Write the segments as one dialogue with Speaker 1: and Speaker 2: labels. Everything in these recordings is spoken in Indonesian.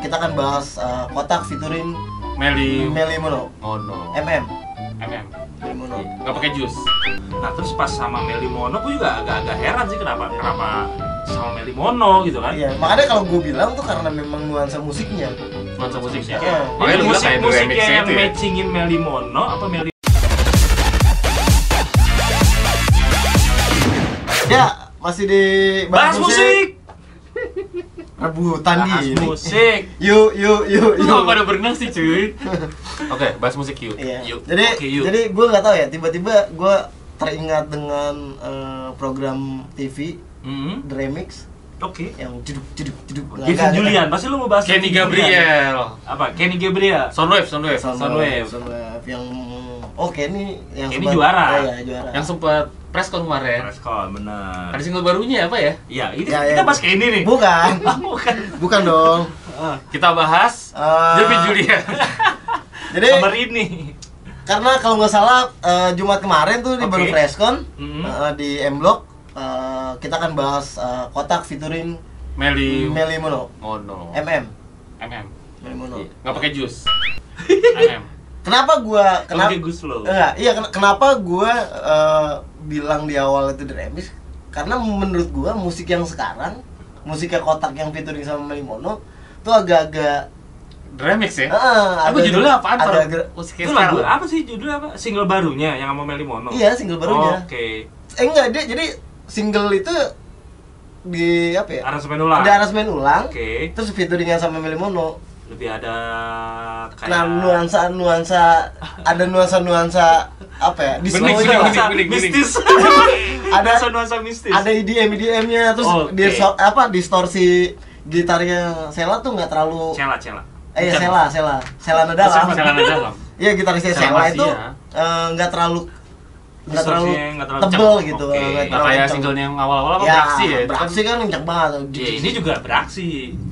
Speaker 1: kita akan bahas eh, kotak fiturin
Speaker 2: Meli
Speaker 1: Meli Muno
Speaker 2: Mono
Speaker 1: MM
Speaker 3: MM
Speaker 1: Meli Muno
Speaker 3: nggak pakai jus nah terus pas sama Meli Mono gue juga agak-agak heran sih kenapa kenapa sama Meli Mono gitu kan
Speaker 1: Iya, makanya kalau gue bilang tuh karena memang nuansa musiknya
Speaker 3: nuansa musiknya
Speaker 2: ya?
Speaker 1: Iya.
Speaker 2: Makanya
Speaker 3: Jadi
Speaker 2: lu bilang
Speaker 3: musik
Speaker 2: kayak
Speaker 3: musiknya
Speaker 2: remixnya
Speaker 3: yang
Speaker 2: itu ya?
Speaker 3: matchingin Meli Mono apa Meli
Speaker 1: Iya. Ya, masih di
Speaker 3: Bahas musik
Speaker 1: Rebutan
Speaker 3: bahas
Speaker 1: di ini
Speaker 3: musik
Speaker 1: Yuk, yuk, yuk,
Speaker 3: Lu
Speaker 1: yuk
Speaker 3: nggak pada berenang sih cuy
Speaker 2: oke bahas musik yuk
Speaker 1: Iya.
Speaker 3: Yuk.
Speaker 1: Jadi,
Speaker 3: Oke, yuk.
Speaker 1: jadi gue nggak tahu ya. Tiba-tiba gue teringat dengan eh, program TV
Speaker 3: Hmm,
Speaker 1: The Remix
Speaker 3: Oke
Speaker 1: yang jeduk jeduk jeduk. gitu.
Speaker 3: Kevin Julian, pasti lu mau bahas
Speaker 2: Kenny
Speaker 3: Kevin Julian.
Speaker 2: Gabriel
Speaker 3: Apa? Kenny Gabriel
Speaker 2: Soundwave Soundwave
Speaker 1: Sunwave.
Speaker 3: Sunwave.
Speaker 1: Sunwave yang oke ini yang
Speaker 3: Ini
Speaker 1: sempat-
Speaker 3: juara.
Speaker 1: Iya, juara.
Speaker 2: yang sempat presscon kemarin
Speaker 3: Preskon, bener
Speaker 2: ada single barunya apa ya
Speaker 3: Iya, ini
Speaker 1: Ya, ya.
Speaker 3: kita bahas Kenny nih
Speaker 1: Bukan.
Speaker 3: Ah, Bukan
Speaker 1: Bukan dong.
Speaker 2: kita bahas
Speaker 1: Eh,
Speaker 2: Jepit Julian
Speaker 1: Jadi
Speaker 3: Kamar ini
Speaker 1: karena kalau nggak salah eh, Jumat kemarin tuh di
Speaker 3: Oke.
Speaker 1: baru Freshcon
Speaker 3: Mhm.
Speaker 1: eh, di M Block eh, kita akan bahas eh, kotak fiturin
Speaker 2: Meli
Speaker 1: Meli Mono
Speaker 2: Mono
Speaker 1: MM
Speaker 3: MM
Speaker 1: Meli Mono.
Speaker 2: Oh, Iya, nggak pakai jus MM
Speaker 1: Kenapa gua kenapa
Speaker 3: Kenapa? Gus lo
Speaker 1: Enggak, iya ken- kenapa gue bilang di awal itu Dremis karena menurut gue musik yang sekarang musiknya kotak yang featuring sama Melimono tuh agak-agak
Speaker 2: remix ya
Speaker 1: Ah,
Speaker 2: Aku
Speaker 1: agak-
Speaker 2: judulnya apaan? Par?
Speaker 1: agak-
Speaker 2: Musiknya
Speaker 3: Itu
Speaker 2: sekarang.
Speaker 3: lagu apa sih judulnya apa? Single barunya yang sama Meli Mono? Oh,
Speaker 1: iya single barunya
Speaker 3: Oke
Speaker 1: eh enggak dia jadi single itu di apa ya
Speaker 3: Aransemen ulang
Speaker 1: ada aransemen ulang
Speaker 3: Oke
Speaker 1: terus featuringnya sama Melimono
Speaker 3: Lebih ada kayak
Speaker 1: nah nuansa nuansa ada nuansa nuansa apa ya
Speaker 2: Bening,
Speaker 1: slow-nya
Speaker 2: bening,
Speaker 1: lah.
Speaker 2: bening. bening, bening.
Speaker 3: mistis
Speaker 1: Ada-
Speaker 3: ada nuansa mistis
Speaker 1: ada EDM EDM nya terus
Speaker 3: Oke.
Speaker 1: dia so- apa distorsi gitarnya Sela tuh nggak terlalu
Speaker 3: Cela Cela
Speaker 1: eh ya
Speaker 2: Bukan.
Speaker 1: Sela Sela Sela
Speaker 2: Masih
Speaker 1: Nadala
Speaker 2: perjalanan dalam
Speaker 1: iya gitarisnya
Speaker 2: Sela
Speaker 1: Sela
Speaker 2: Masia.
Speaker 1: itu eh, nggak terlalu nggak terlalu
Speaker 3: Distorsinya nggak terlalu
Speaker 1: tebel
Speaker 3: kencang.
Speaker 1: gitu nggak
Speaker 3: Oke.
Speaker 2: Nggak
Speaker 1: terlalu
Speaker 2: Nah, kayak
Speaker 1: kencang.
Speaker 2: singlenya yang awal-awal apa
Speaker 1: ya,
Speaker 2: beraksi ya itu kan
Speaker 1: beraksi kan kencang banget
Speaker 3: Ya, ini juga beraksi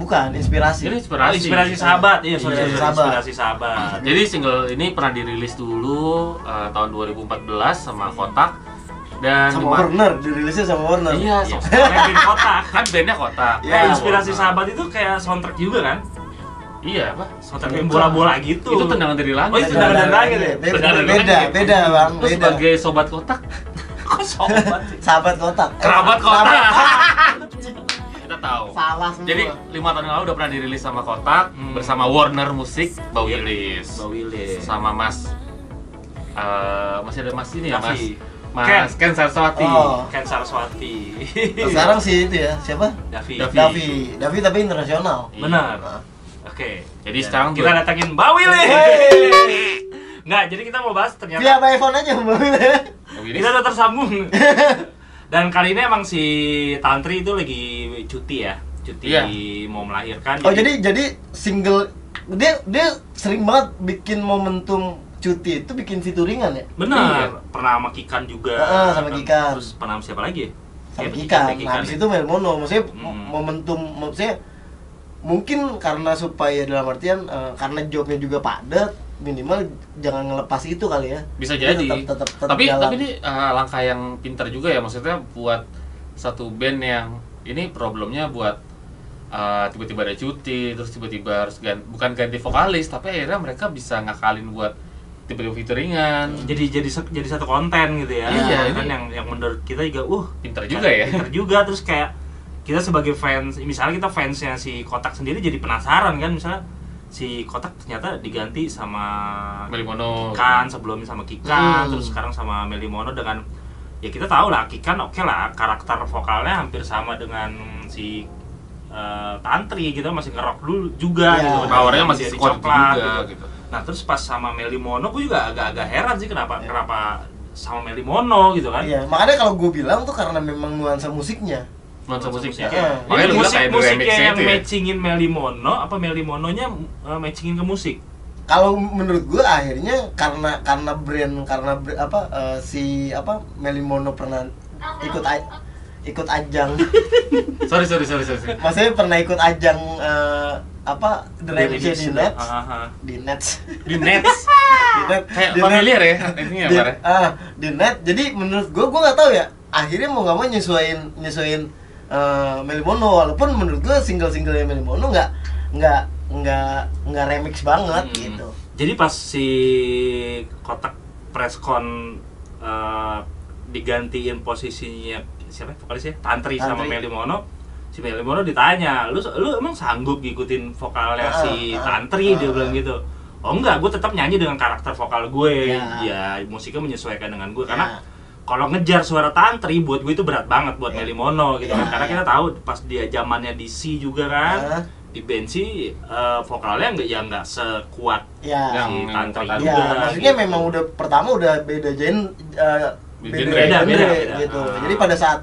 Speaker 1: bukan iya. inspirasi
Speaker 2: Ini inspirasi.
Speaker 3: Inspirasi, inspirasi sahabat, iya, sorry,
Speaker 1: Iya,
Speaker 3: sorry,
Speaker 1: sahabat.
Speaker 3: inspirasi sahabat.
Speaker 2: Nah, jadi single ini pernah dirilis dulu eh, tahun 2014 sama Kotak dan
Speaker 1: sama
Speaker 2: cuma-
Speaker 1: Warner dirilisnya sama Warner
Speaker 2: Iya,
Speaker 3: Iya,
Speaker 2: sama-
Speaker 3: Kevin kotak.
Speaker 2: kan bandnya Kotak.
Speaker 1: Iya,
Speaker 3: Nah,
Speaker 2: Nah,
Speaker 3: inspirasi
Speaker 2: Warna.
Speaker 3: sahabat itu kayak soundtrack juga kan?
Speaker 2: Iya, apa?
Speaker 3: Soundtrack yang bola-bola gitu.
Speaker 2: Itu tendangan dari langit.
Speaker 3: Oh, itu tendangan dari langit ya?
Speaker 1: Iya, beda
Speaker 2: Tendangan dari
Speaker 1: beda,
Speaker 2: langit.
Speaker 1: beda bang
Speaker 2: Lu
Speaker 1: beda
Speaker 2: sebagai sobat Kotak,
Speaker 3: Kok sobat Oh, sih?
Speaker 1: sahabat kotak Eh,
Speaker 2: kerabat Kotak.
Speaker 1: sahabat-
Speaker 2: Kita tahu.
Speaker 1: salah semua
Speaker 2: Jadi lima tahun yang lalu udah pernah dirilis sama Kotak
Speaker 3: Hmm.
Speaker 2: bersama Warner
Speaker 1: Iya.
Speaker 2: Music,
Speaker 3: Iya.
Speaker 2: Bawilis,
Speaker 3: Mbak Willy.
Speaker 2: sama Mas eh, masih ada Mas ini ya Mas,
Speaker 3: Raffi. Ken.
Speaker 2: Mas Ken Saraswati.
Speaker 1: Oh.
Speaker 3: Ken Saraswati.
Speaker 1: Nah, sekarang sih itu ya siapa
Speaker 3: Davi.
Speaker 2: Davi.
Speaker 1: Davi Davi tapi internasional
Speaker 2: Iya.
Speaker 3: Benar.
Speaker 1: Nah.
Speaker 3: Oke.
Speaker 2: Jadi
Speaker 3: Ya,
Speaker 2: sekarang
Speaker 3: kita
Speaker 2: gue-
Speaker 3: datangin Mbak Willy.
Speaker 1: Iya. Hey.
Speaker 3: Nah, jadi kita mau bahas
Speaker 2: Iya.
Speaker 3: ternyata
Speaker 1: via by phone aja mbak Wil.
Speaker 2: Bawilis.
Speaker 3: kita udah tersambung. Dan kali ini emang si Tantri itu lagi cuti ya, cuti
Speaker 2: Iya.
Speaker 3: mau melahirkan.
Speaker 1: oh jadi jadi single dia dia sering banget bikin momentum cuti itu bikin fituringan ya
Speaker 2: Iya.
Speaker 3: Benar, pernah sama Kikan juga.
Speaker 1: Heeh, sama
Speaker 3: Kan.
Speaker 1: Kikan.
Speaker 3: Terus pernah sama siapa lagi? ya?
Speaker 1: sama
Speaker 3: Iya,
Speaker 1: Kika.
Speaker 3: ya,
Speaker 1: Nah, habis
Speaker 3: ya.
Speaker 1: itu Melmono. Maksudnya
Speaker 3: Hmm.
Speaker 1: momentum maksudnya mungkin karena supaya dalam artian eh, karena jobnya juga padat minimal jangan ngelepas itu kali ya.
Speaker 2: bisa
Speaker 1: Dia
Speaker 2: jadi
Speaker 1: tetap- tetap- tetap
Speaker 2: tapi
Speaker 1: jalan.
Speaker 2: tapi ini eh, langkah yang pintar juga ya maksudnya buat satu band yang ini problemnya buat eh, tiba-tiba ada cuti terus tiba-tiba harus gan- bukan ganti vokalis tapi akhirnya mereka bisa ngakalin buat tiba-tiba featuringan
Speaker 3: jadi jadi se- jadi satu konten gitu ya
Speaker 2: Iya, ini-
Speaker 3: konten yang yang menurut kita juga uh
Speaker 2: pintar juga ya
Speaker 3: pinter juga terus kayak kita sebagai fans misalnya kita fansnya si kotak sendiri jadi penasaran kan misalnya si kotak ternyata diganti sama
Speaker 2: Melimono
Speaker 3: Kikan Kan, sebelumnya sama
Speaker 1: Hmm.
Speaker 3: Kikan terus sekarang sama Melimono dengan ya kita tahu lah Kikan oke lah karakter vokalnya hampir sama dengan si eh, Tantri gitu masih ngerok dulu juga
Speaker 1: Iya.
Speaker 3: gitu
Speaker 2: powernya masih
Speaker 3: Jadi
Speaker 2: sekuat itu
Speaker 3: coklat,
Speaker 2: juga
Speaker 3: gitu.
Speaker 2: gitu
Speaker 3: Nah terus pas sama Meli Mono, gue juga agak-agak heran sih kenapa kenapa sama Meli Mono gitu kan?
Speaker 1: Iya, makanya kalau gue bilang tuh karena memang nuansa musiknya.
Speaker 2: nuansa musiknya
Speaker 1: musiknya.
Speaker 2: ya. makanya lu
Speaker 3: Jadi
Speaker 2: bilang
Speaker 3: ya. musik
Speaker 2: kayak The
Speaker 3: musiknya
Speaker 2: Remix
Speaker 3: yang
Speaker 2: itu ya
Speaker 3: matchingin Meli Mono, apa Meli Mononya uh, matchingin ke musik?
Speaker 1: Kalau menurut gue akhirnya karena karena brand karena br- apa eh, si apa Melimono pernah ikut a- ikut ajang
Speaker 2: sorry sorry sorry sorry
Speaker 1: maksudnya pernah ikut ajang eh, apa The
Speaker 3: Dari Ah,
Speaker 1: Remix di
Speaker 3: Dixie.
Speaker 1: Nets
Speaker 3: Hahaha.
Speaker 1: di Nets
Speaker 2: di Nets
Speaker 1: di net
Speaker 2: kayak
Speaker 1: di net-
Speaker 2: familiar ya ini ya
Speaker 1: di,
Speaker 2: Mar, ya?
Speaker 1: ah, di net jadi menurut gue gue nggak tahu ya akhirnya mau nggak mau nyesuain nyesuain eh, Melimono walaupun menurut gue single single yang Melimono nggak nggak nggak nggak remix banget
Speaker 2: Hmm.
Speaker 1: gitu
Speaker 3: Jadi pas si kotak preskon eh, digantiin posisinya siapa ya vokalisnya Tantri, sama
Speaker 1: Tantri.
Speaker 3: Meli Mono, si Meli Mono ditanya, lu lu emang sanggup ngikutin vokalnya
Speaker 1: Ah,
Speaker 3: si
Speaker 1: ah,
Speaker 3: Tantri dia
Speaker 1: ah.
Speaker 3: bilang gitu. Oh enggak, gue tetap nyanyi dengan karakter vokal gue.
Speaker 1: Ya.
Speaker 3: Ya, musiknya menyesuaikan dengan gue
Speaker 1: Ya.
Speaker 3: karena kalau ngejar suara tantri buat gue itu berat banget buat
Speaker 1: Iya.
Speaker 3: Meli Mono gitu kan
Speaker 1: Iya,
Speaker 3: karena
Speaker 1: iya.
Speaker 3: kita tahu pas dia zamannya DC juga kan
Speaker 1: Heeh.
Speaker 3: di band sih eh, vokalnya nggak ya nggak sekuat
Speaker 1: ya
Speaker 2: Yang
Speaker 3: Ah, si tantri
Speaker 2: Tantri.
Speaker 3: juga
Speaker 1: ya maksudnya
Speaker 3: gitu.
Speaker 1: memang udah pertama udah beda jen eh,
Speaker 2: Beda
Speaker 1: beda
Speaker 2: genre.
Speaker 1: genre,
Speaker 3: Beda, beda.
Speaker 1: gitu
Speaker 3: Ah.
Speaker 1: jadi pada saat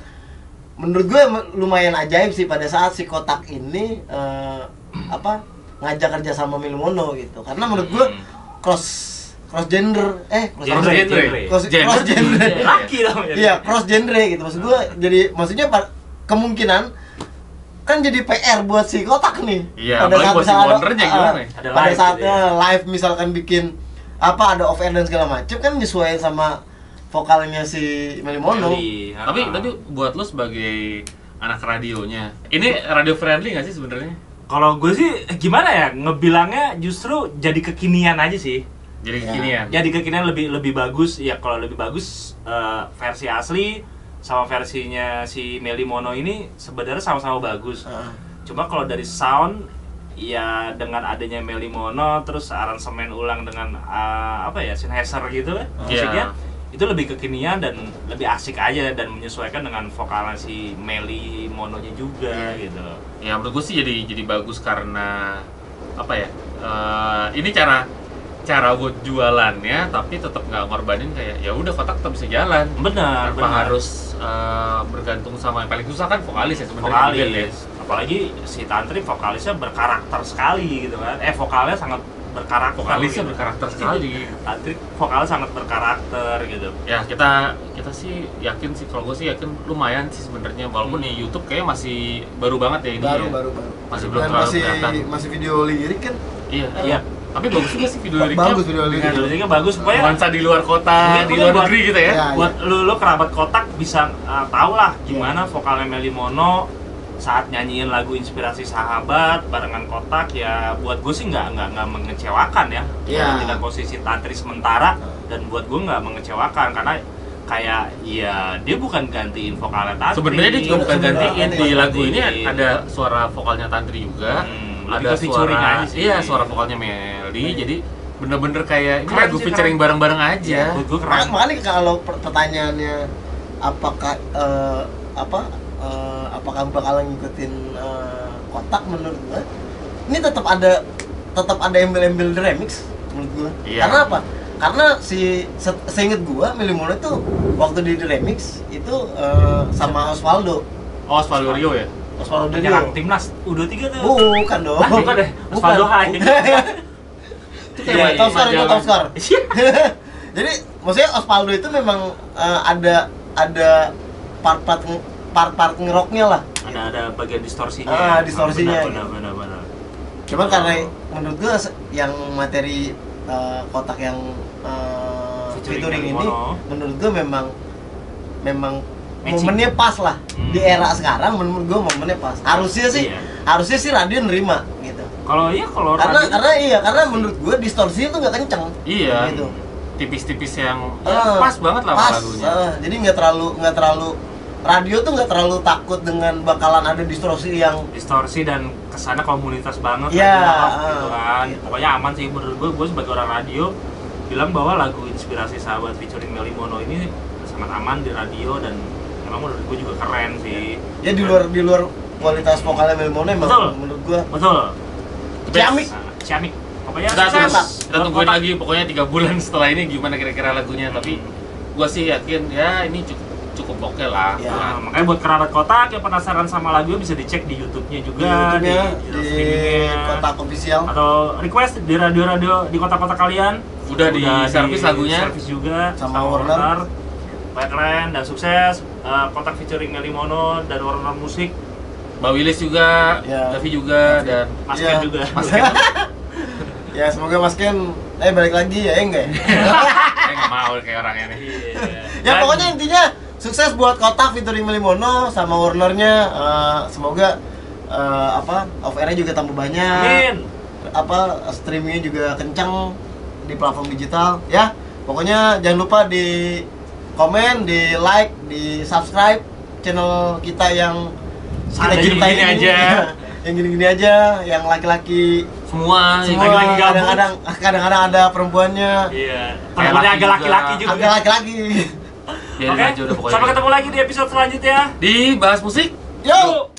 Speaker 1: menurut gue em- lumayan ajaib sih pada saat si kotak ini eh, apa ngajak kerja sama Milmono gitu karena menurut gue
Speaker 2: Hmm. ya?
Speaker 1: cross cross gender eh cross
Speaker 3: Genre,
Speaker 1: gender
Speaker 3: genre.
Speaker 1: cross,
Speaker 2: Genre.
Speaker 1: cross gender
Speaker 2: Iya.
Speaker 3: laki dong ya.
Speaker 1: iya cross genre gitu maksud gue jadi maksudnya pa- kemungkinan kan jadi PR buat si kotak nih
Speaker 2: Iya, apalagi buat si
Speaker 1: misalnya ada-
Speaker 2: Wondernya
Speaker 1: ah,
Speaker 2: gimana ya?
Speaker 3: Ada
Speaker 1: pada
Speaker 3: live
Speaker 1: saat
Speaker 3: gitu ya.
Speaker 1: eh, live misalkan bikin apa ada off air dan segala macem kan nyesuaiin sama vokalnya si Meli Mono
Speaker 3: Meli, ah.
Speaker 2: Tapi tapi buat lu sebagai anak radionya, ini radio friendly nggak sih sebenarnya?
Speaker 3: kalau gue sih eh, gimana ya ngebilangnya justru jadi kekinian aja sih
Speaker 2: Jadi
Speaker 1: Ya.
Speaker 2: kekinian.
Speaker 3: jadi kekinian lebih lebih bagus ya kalau lebih bagus eh, versi asli sama versinya si Meli Mono ini sebenarnya sama-sama bagus
Speaker 1: Ah.
Speaker 3: Cuma kalau dari sound ya dengan adanya Meli Mono terus aransemen ulang dengan uh, apa ya synthesizer gitu kan
Speaker 2: Iya.
Speaker 3: musiknya itu lebih kekinian dan lebih asik aja dan menyesuaikan dengan vokalnya si Meli Mononya juga gitu.
Speaker 2: Ya menurut gue sih jadi jadi bagus karena apa ya? eh, ini cara cara buat jualannya tapi tetap nggak ngorbanin kayak ya udah kotak tetap bisa jalan
Speaker 3: Benar,
Speaker 2: tanpa
Speaker 3: benar.
Speaker 2: harus eh, bergantung sama yang paling susah kan vokalis ya sebenarnya di band ya.
Speaker 3: vokalis. Apalagi si Tantri vokalisnya berkarakter sekali gitu kan. Eh vokalnya sangat berkarakter.
Speaker 2: vokalisnya
Speaker 3: gitu.
Speaker 2: berkarakter sekali
Speaker 3: Tantri vokalnya sangat berkarakter gitu.
Speaker 2: ya kita kita sih yakin sih kalau gue sih yakin lumayan sih sebenarnya walaupun di YouTube kayaknya masih baru banget ya ini
Speaker 1: baru
Speaker 2: ya.
Speaker 1: baru baru
Speaker 2: Masih belum
Speaker 1: Dan
Speaker 2: terlalu
Speaker 1: masih
Speaker 2: kelihatan.
Speaker 1: masih video lirik kan
Speaker 2: iya
Speaker 3: Iya.
Speaker 2: tapi bagus juga sih video
Speaker 1: Ba-
Speaker 2: liriknya
Speaker 1: bagus video liriknya.
Speaker 2: dengan
Speaker 3: Jadi bagus supaya
Speaker 2: nuansa di luar kota
Speaker 3: Mungkin
Speaker 2: di luar
Speaker 3: buat-
Speaker 2: negeri gitu ya
Speaker 1: Ya.
Speaker 3: buat lu lu kerabat kotak bisa uh, tau lah gimana
Speaker 1: Iya.
Speaker 3: vokalnya Meli Mono saat nyanyiin lagu inspirasi sahabat barengan kotak ya buat gue sih nggak nggak nggak mengecewakan ya
Speaker 1: Iya.
Speaker 3: dengan posisi tantri sementara dan buat gue nggak mengecewakan karena kayak ya dia bukan gantiin vokalnya tantri Iya,
Speaker 2: sebenarnya dia juga bukan
Speaker 1: Sebenarnya
Speaker 2: gantiin di
Speaker 1: gantiin.
Speaker 2: lagu ini ada suara vokalnya Tantri juga
Speaker 3: Hmm, lebih
Speaker 2: ada
Speaker 3: ke featuring aja
Speaker 2: suara
Speaker 3: sih.
Speaker 2: iya suara vokalnya Meli jadi bener-bener kayak ini
Speaker 3: Keren
Speaker 2: lagu
Speaker 3: sih,
Speaker 2: featuring
Speaker 3: keren.
Speaker 2: bareng-bareng aja
Speaker 3: buat gue Iya, keren
Speaker 1: Mak- makanya Iya. kalau per- pertanyaannya apakah eh, apa eh, apakah bakal ngikutin eh, kotak menurut gue ini tetap ada tetap ada embel-embel The remix menurut gue
Speaker 2: Iya.
Speaker 1: karena apa karena si se seinget gue Mili Mono itu waktu di The remix itu eh,
Speaker 3: Iya.
Speaker 1: sama Osvaldo
Speaker 2: oh Osvaldo Rio ya
Speaker 1: Osvaldo
Speaker 3: penyerang
Speaker 1: Rio
Speaker 3: timnas udah tiga tuh
Speaker 1: Iya. bukan dong
Speaker 3: Ah, bukan deh. Osvaldo Hai.
Speaker 1: itu kayak
Speaker 2: Iya,
Speaker 1: top score itu
Speaker 2: majalah.
Speaker 1: top score
Speaker 3: Iya.
Speaker 1: jadi maksudnya Osvaldo itu memang eh, ada ada part-part nge- part-part ngeroknya lah
Speaker 3: ada ada bagian distorsinya ya?
Speaker 1: Ah, distorsinya.
Speaker 3: benar benar benar, benar.
Speaker 1: cuman karena
Speaker 3: Oh.
Speaker 1: menurut gue se- yang materi eh, kotak yang eh,
Speaker 3: Featuring
Speaker 1: featuring
Speaker 3: dari
Speaker 1: ini
Speaker 3: Mono.
Speaker 1: menurut gue memang memang
Speaker 3: Matching.
Speaker 1: momennya pas lah
Speaker 3: Hmm.
Speaker 1: di era sekarang menurut gue momennya pas harusnya sih
Speaker 3: Iya.
Speaker 1: harusnya sih radio nerima gitu
Speaker 3: kalau ya kalau
Speaker 1: karena
Speaker 3: radio-
Speaker 1: karena iya karena menurut gue distorsinya tuh nggak kenceng
Speaker 2: iya
Speaker 1: gitu
Speaker 2: tipis-tipis yang
Speaker 1: Eh,
Speaker 2: Ya, pas banget lah sama
Speaker 1: pas,
Speaker 2: lagunya
Speaker 1: eh, jadi nggak terlalu nggak terlalu radio tuh nggak terlalu takut dengan bakalan ada distorsi yang
Speaker 3: distorsi dan kesana komunitas banget
Speaker 1: Iya,
Speaker 3: lagi ngelap gitu
Speaker 1: ah,
Speaker 3: kan
Speaker 1: gitu.
Speaker 3: pokoknya aman sih menurut gue gue sebagai orang radio bilang bahwa lagu inspirasi sahabat featuring Meli Mono ini sangat aman di radio dan emang menurut gue juga keren sih
Speaker 1: ya di luar di luar kualitas vokalnya Mel Mono emang
Speaker 3: Betul.
Speaker 1: menurut gua
Speaker 3: betul
Speaker 1: Ciamik.
Speaker 3: Nah, ciamik pokoknya
Speaker 2: kita
Speaker 1: Sama.
Speaker 2: terus kita tungguin lagi pokoknya tiga bulan setelah ini gimana kira-kira lagunya tapi gua sih yakin ya ini cukup cukup oke lah
Speaker 1: Iya.
Speaker 2: Nah,
Speaker 3: Nah, makanya buat kerabat kotak yang penasaran sama lagu bisa dicek di YouTube-nya
Speaker 1: di
Speaker 3: juga
Speaker 1: YouTube ya
Speaker 3: di,
Speaker 1: di
Speaker 3: streaming-nya.
Speaker 1: kotak official
Speaker 3: atau request di radio-radio di kota-kota kalian
Speaker 2: Udah di servis lagunya.
Speaker 3: servis juga
Speaker 1: Sama Warner.
Speaker 3: Baik, keren dan sukses Eh, kontak featuring Meli Mono dan Warner Musik
Speaker 2: Mbak Wilis juga,
Speaker 1: Iya.
Speaker 2: Davi juga dan
Speaker 3: Mas
Speaker 1: Iya.
Speaker 3: Ken juga
Speaker 2: Mas Ken.
Speaker 1: ya semoga Mas Ken eh balik lagi ya ya enggak ya?
Speaker 2: Saya eh, nggak mau kayak orangnya nih.
Speaker 3: Iya.
Speaker 1: ya
Speaker 3: Dan-
Speaker 1: pokoknya intinya sukses buat kotak featuring Mel Mono sama Warnernya eh, semoga eh, apa off airnya juga tambah banyak
Speaker 3: Amin
Speaker 1: apa streamingnya juga kencang di platform digital ya pokoknya jangan lupa di komen di like di subscribe channel kita yang kita
Speaker 3: Ada
Speaker 1: cintai
Speaker 3: gini-gini
Speaker 1: ini.
Speaker 3: aja.
Speaker 1: yang gini-gini aja yang laki-laki
Speaker 2: semua,
Speaker 1: semua
Speaker 3: lagi-lagi gabut.
Speaker 1: kadang-kadang kadang-kadang ada perempuannya
Speaker 3: Iya.
Speaker 2: Kayak
Speaker 3: Temennya
Speaker 2: laki
Speaker 3: agak laki-laki
Speaker 2: juga.
Speaker 3: juga.
Speaker 1: ada laki-laki
Speaker 2: biarin
Speaker 3: Oke,
Speaker 2: aja udah pokoknya gitu.
Speaker 3: sampai ketemu lagi di episode selanjutnya.
Speaker 2: di bahas musik
Speaker 1: yo